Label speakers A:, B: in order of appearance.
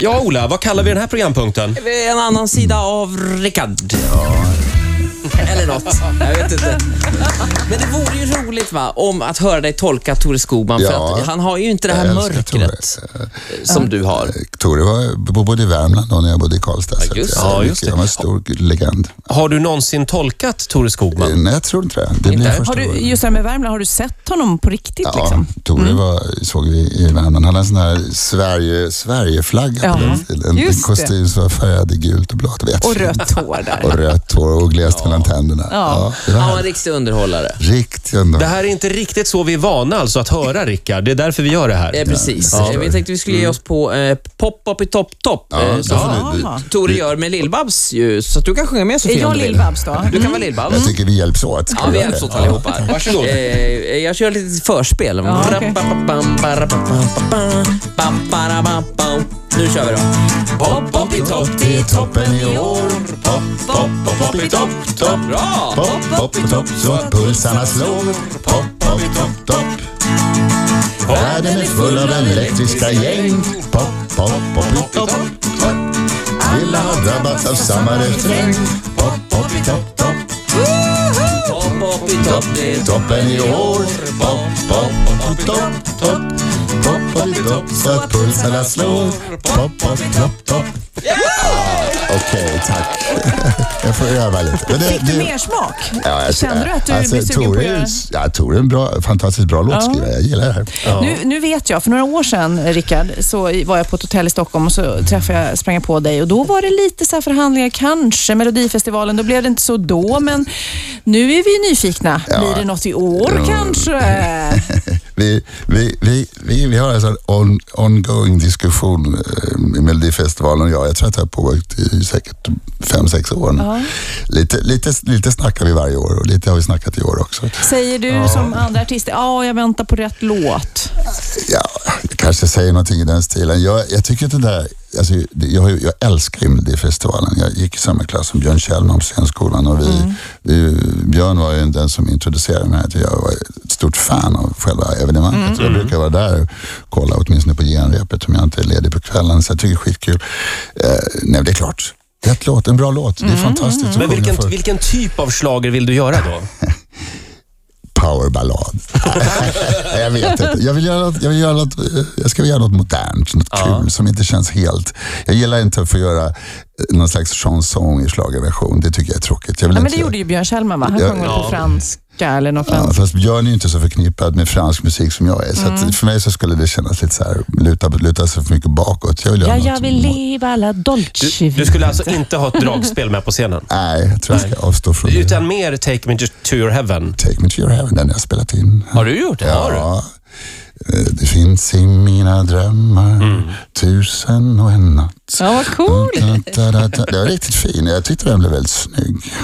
A: Ja, Ola, vad kallar vi den här programpunkten?
B: En annan sida av Rickard. Eller något. Jag vet inte. Men det vore ju roligt va, om att höra dig tolka Tore Skogman.
C: Ja.
B: För att han har ju inte det här
C: Jag älskar Eh,
B: mörkret som du har.
C: Tore var, bo- bodde i Värmland då när jag bodde i Karlstad. så att
B: just
C: jag-
A: det. Ja,
C: jag-
A: just det.
C: Han var en stor legend. Eh,
A: Har du någonsin tolkat Tore Skogman?
C: Nej, jag tror inte det. Det blir första
D: Har du,
C: gången.
D: just det här med Värmland, har du sett honom på riktigt?
C: Ja,
D: Liksom?
C: Tore var, såg vi i Värmland. Han hade en sån här Sverige, Sverigeflagga på
D: Ja.
C: den stilen. En
D: Just det.
C: kostym som var färgad i gult och blått. Vet
D: Och
C: fint.
D: rött hår där.
C: Och rött hår och glest mellan tänderna. Ja. det var
B: Han var en
C: härligt.
B: riktig underhållare. Eh,
C: Riktigt ändå.
A: Det här är inte riktigt så vi är vana alltså att höra Rickard. Det är därför vi gör det
B: Eh,
A: här.
B: precis.
A: Ja.
B: Eh, Vi tänkte vi skulle ge oss på eh, Pop-Up i Topp-Topp.
C: Ja,
B: eh,
C: då
B: som
C: får du, du,
D: Jaha.
B: Tore gör med Lill-Babs ju. Så att du kan sjunga med
D: Är
B: Sofia om
D: jag
B: du vill.
D: Lill-Babs då?
B: Du kan vara Lill-Babs.
C: jag tycker vi hjälps åt. Ska
B: Mm. Ja, vi
C: göra
B: hjälps
C: det?
B: åt allihopa här.
A: Varsågod.
B: Eh, jag kör lite förspel.
D: Ja, okej.
B: Bam, barabam, bam, bam, barabam, bam. Nu kör vi då. Pop, pop i topp, det är toppen i år. Pop, pop, pop, pop i topp, topp. Bra!
C: Pop, pop i topp så att pulsarna slår. Pop, pop i topp, topp. Världen är full av elektriska gäng. Pop, pop, pop i topp, topp. Alla har drabbats av samma refräng. Pop, pop i topp, topp.
B: Pop, pop i topp, det är topp.
C: Toppen i år. Pop, pop, pop i topp, topp. Pop, pop i topp så att pulsarna slår. Pop, pop i topp, topp. Ja, Okej, tack. Jag får öva lite. Men det-
D: Fick du
C: det-
D: mer smak?
C: Ja, jag-
D: Kände du att du blev sugen
C: Tore
D: på att
C: är ju-
D: göra...
C: Ja, Tore är en bra, fantastiskt bra låtskrivare. Jag gillar det här.
D: Nu, nu vet jag, för några år sedan eh, Rickard, så i- var jag på ett hotell i Stockholm och så träffade jag, sprang jag på dig och då var det lite så här förhandlingar, kanske Melodifestivalen, då blev det inte så då, men nu är vi ju nyfikna. Blir det något i år
C: Mm.
D: kanske?
C: Vi, vi, vi, vi, vi har alltså en on, ongoing diskussion eh, i Melodifestivalen och jag. Jag tror att det har pågått i säkert fem, sex år nu. Lite, lite, lite snackar vi varje år och lite har vi snackat i år också.
D: Säger du som andra artister, ja, jag väntar på rätt låt.
C: Ja, jag kanske säger någonting i den stilen. Jag, jag tycker att det där, alltså, det- jag, har ju- jag älskar ju Melodifestivalen. Jag gick i samma klass som Björn Kjellman på scenskolan och vi,
A: Mm.
C: vi, Björn var ju den som introducerade mig. Jag var ett stort fan av själva
A: Mm,
C: evenemanget. Jag brukar vara där och kolla åtminstone på genrepet om jag inte är ledig på kvällen. Så jag tycker det är skitkul. Eh, nej, det är klart. Rätt låt, en bra låt. Det är fantastiskt att
A: Mm. Men
C: sjunga för.
A: vilken, vilken typ av slager vill du göra då?
C: powerballad. Nej, jag vet inte. Jag vill göra något, jag vill göra något, eh, jag ska göra något modernt, något kul som inte känns helt. Jag gillar inte att få göra eh, någon slags chanson i schlagerversion. Det tycker jag är tråkigt. Jag vill
D: Ja, men
C: inte
D: det gjorde ju Björn Kjellman, va? Han
C: Ja.
D: sjöng väl på franska eller något
C: Ja,
D: franskt.
C: fast Björn är ju inte så förknippad med fransk musik som jag är. Så
D: Mm.
C: att för mig så skulle det kännas lite så här, luta, luta sig för mycket bakåt. Jag vill göra
D: Ja,
C: något
D: jag vill
C: mot-
D: leva la dolce
A: Du, du skulle alltså inte ha ett dragspel med på scenen?
C: Nej, jag tror jag ska avstå från det.
A: Utan mer Take Me To Your Heaven?
C: Take me to your heaven, den har jag spelat in.
B: Har du gjort det? Har du?
C: Ja. Eh, Det finns i mina drömmar tusen och en natt.
D: Ja, vad coolt.
C: Da, da, da, da. Det var riktigt fin. Jag tyckte den blev väldigt snygg.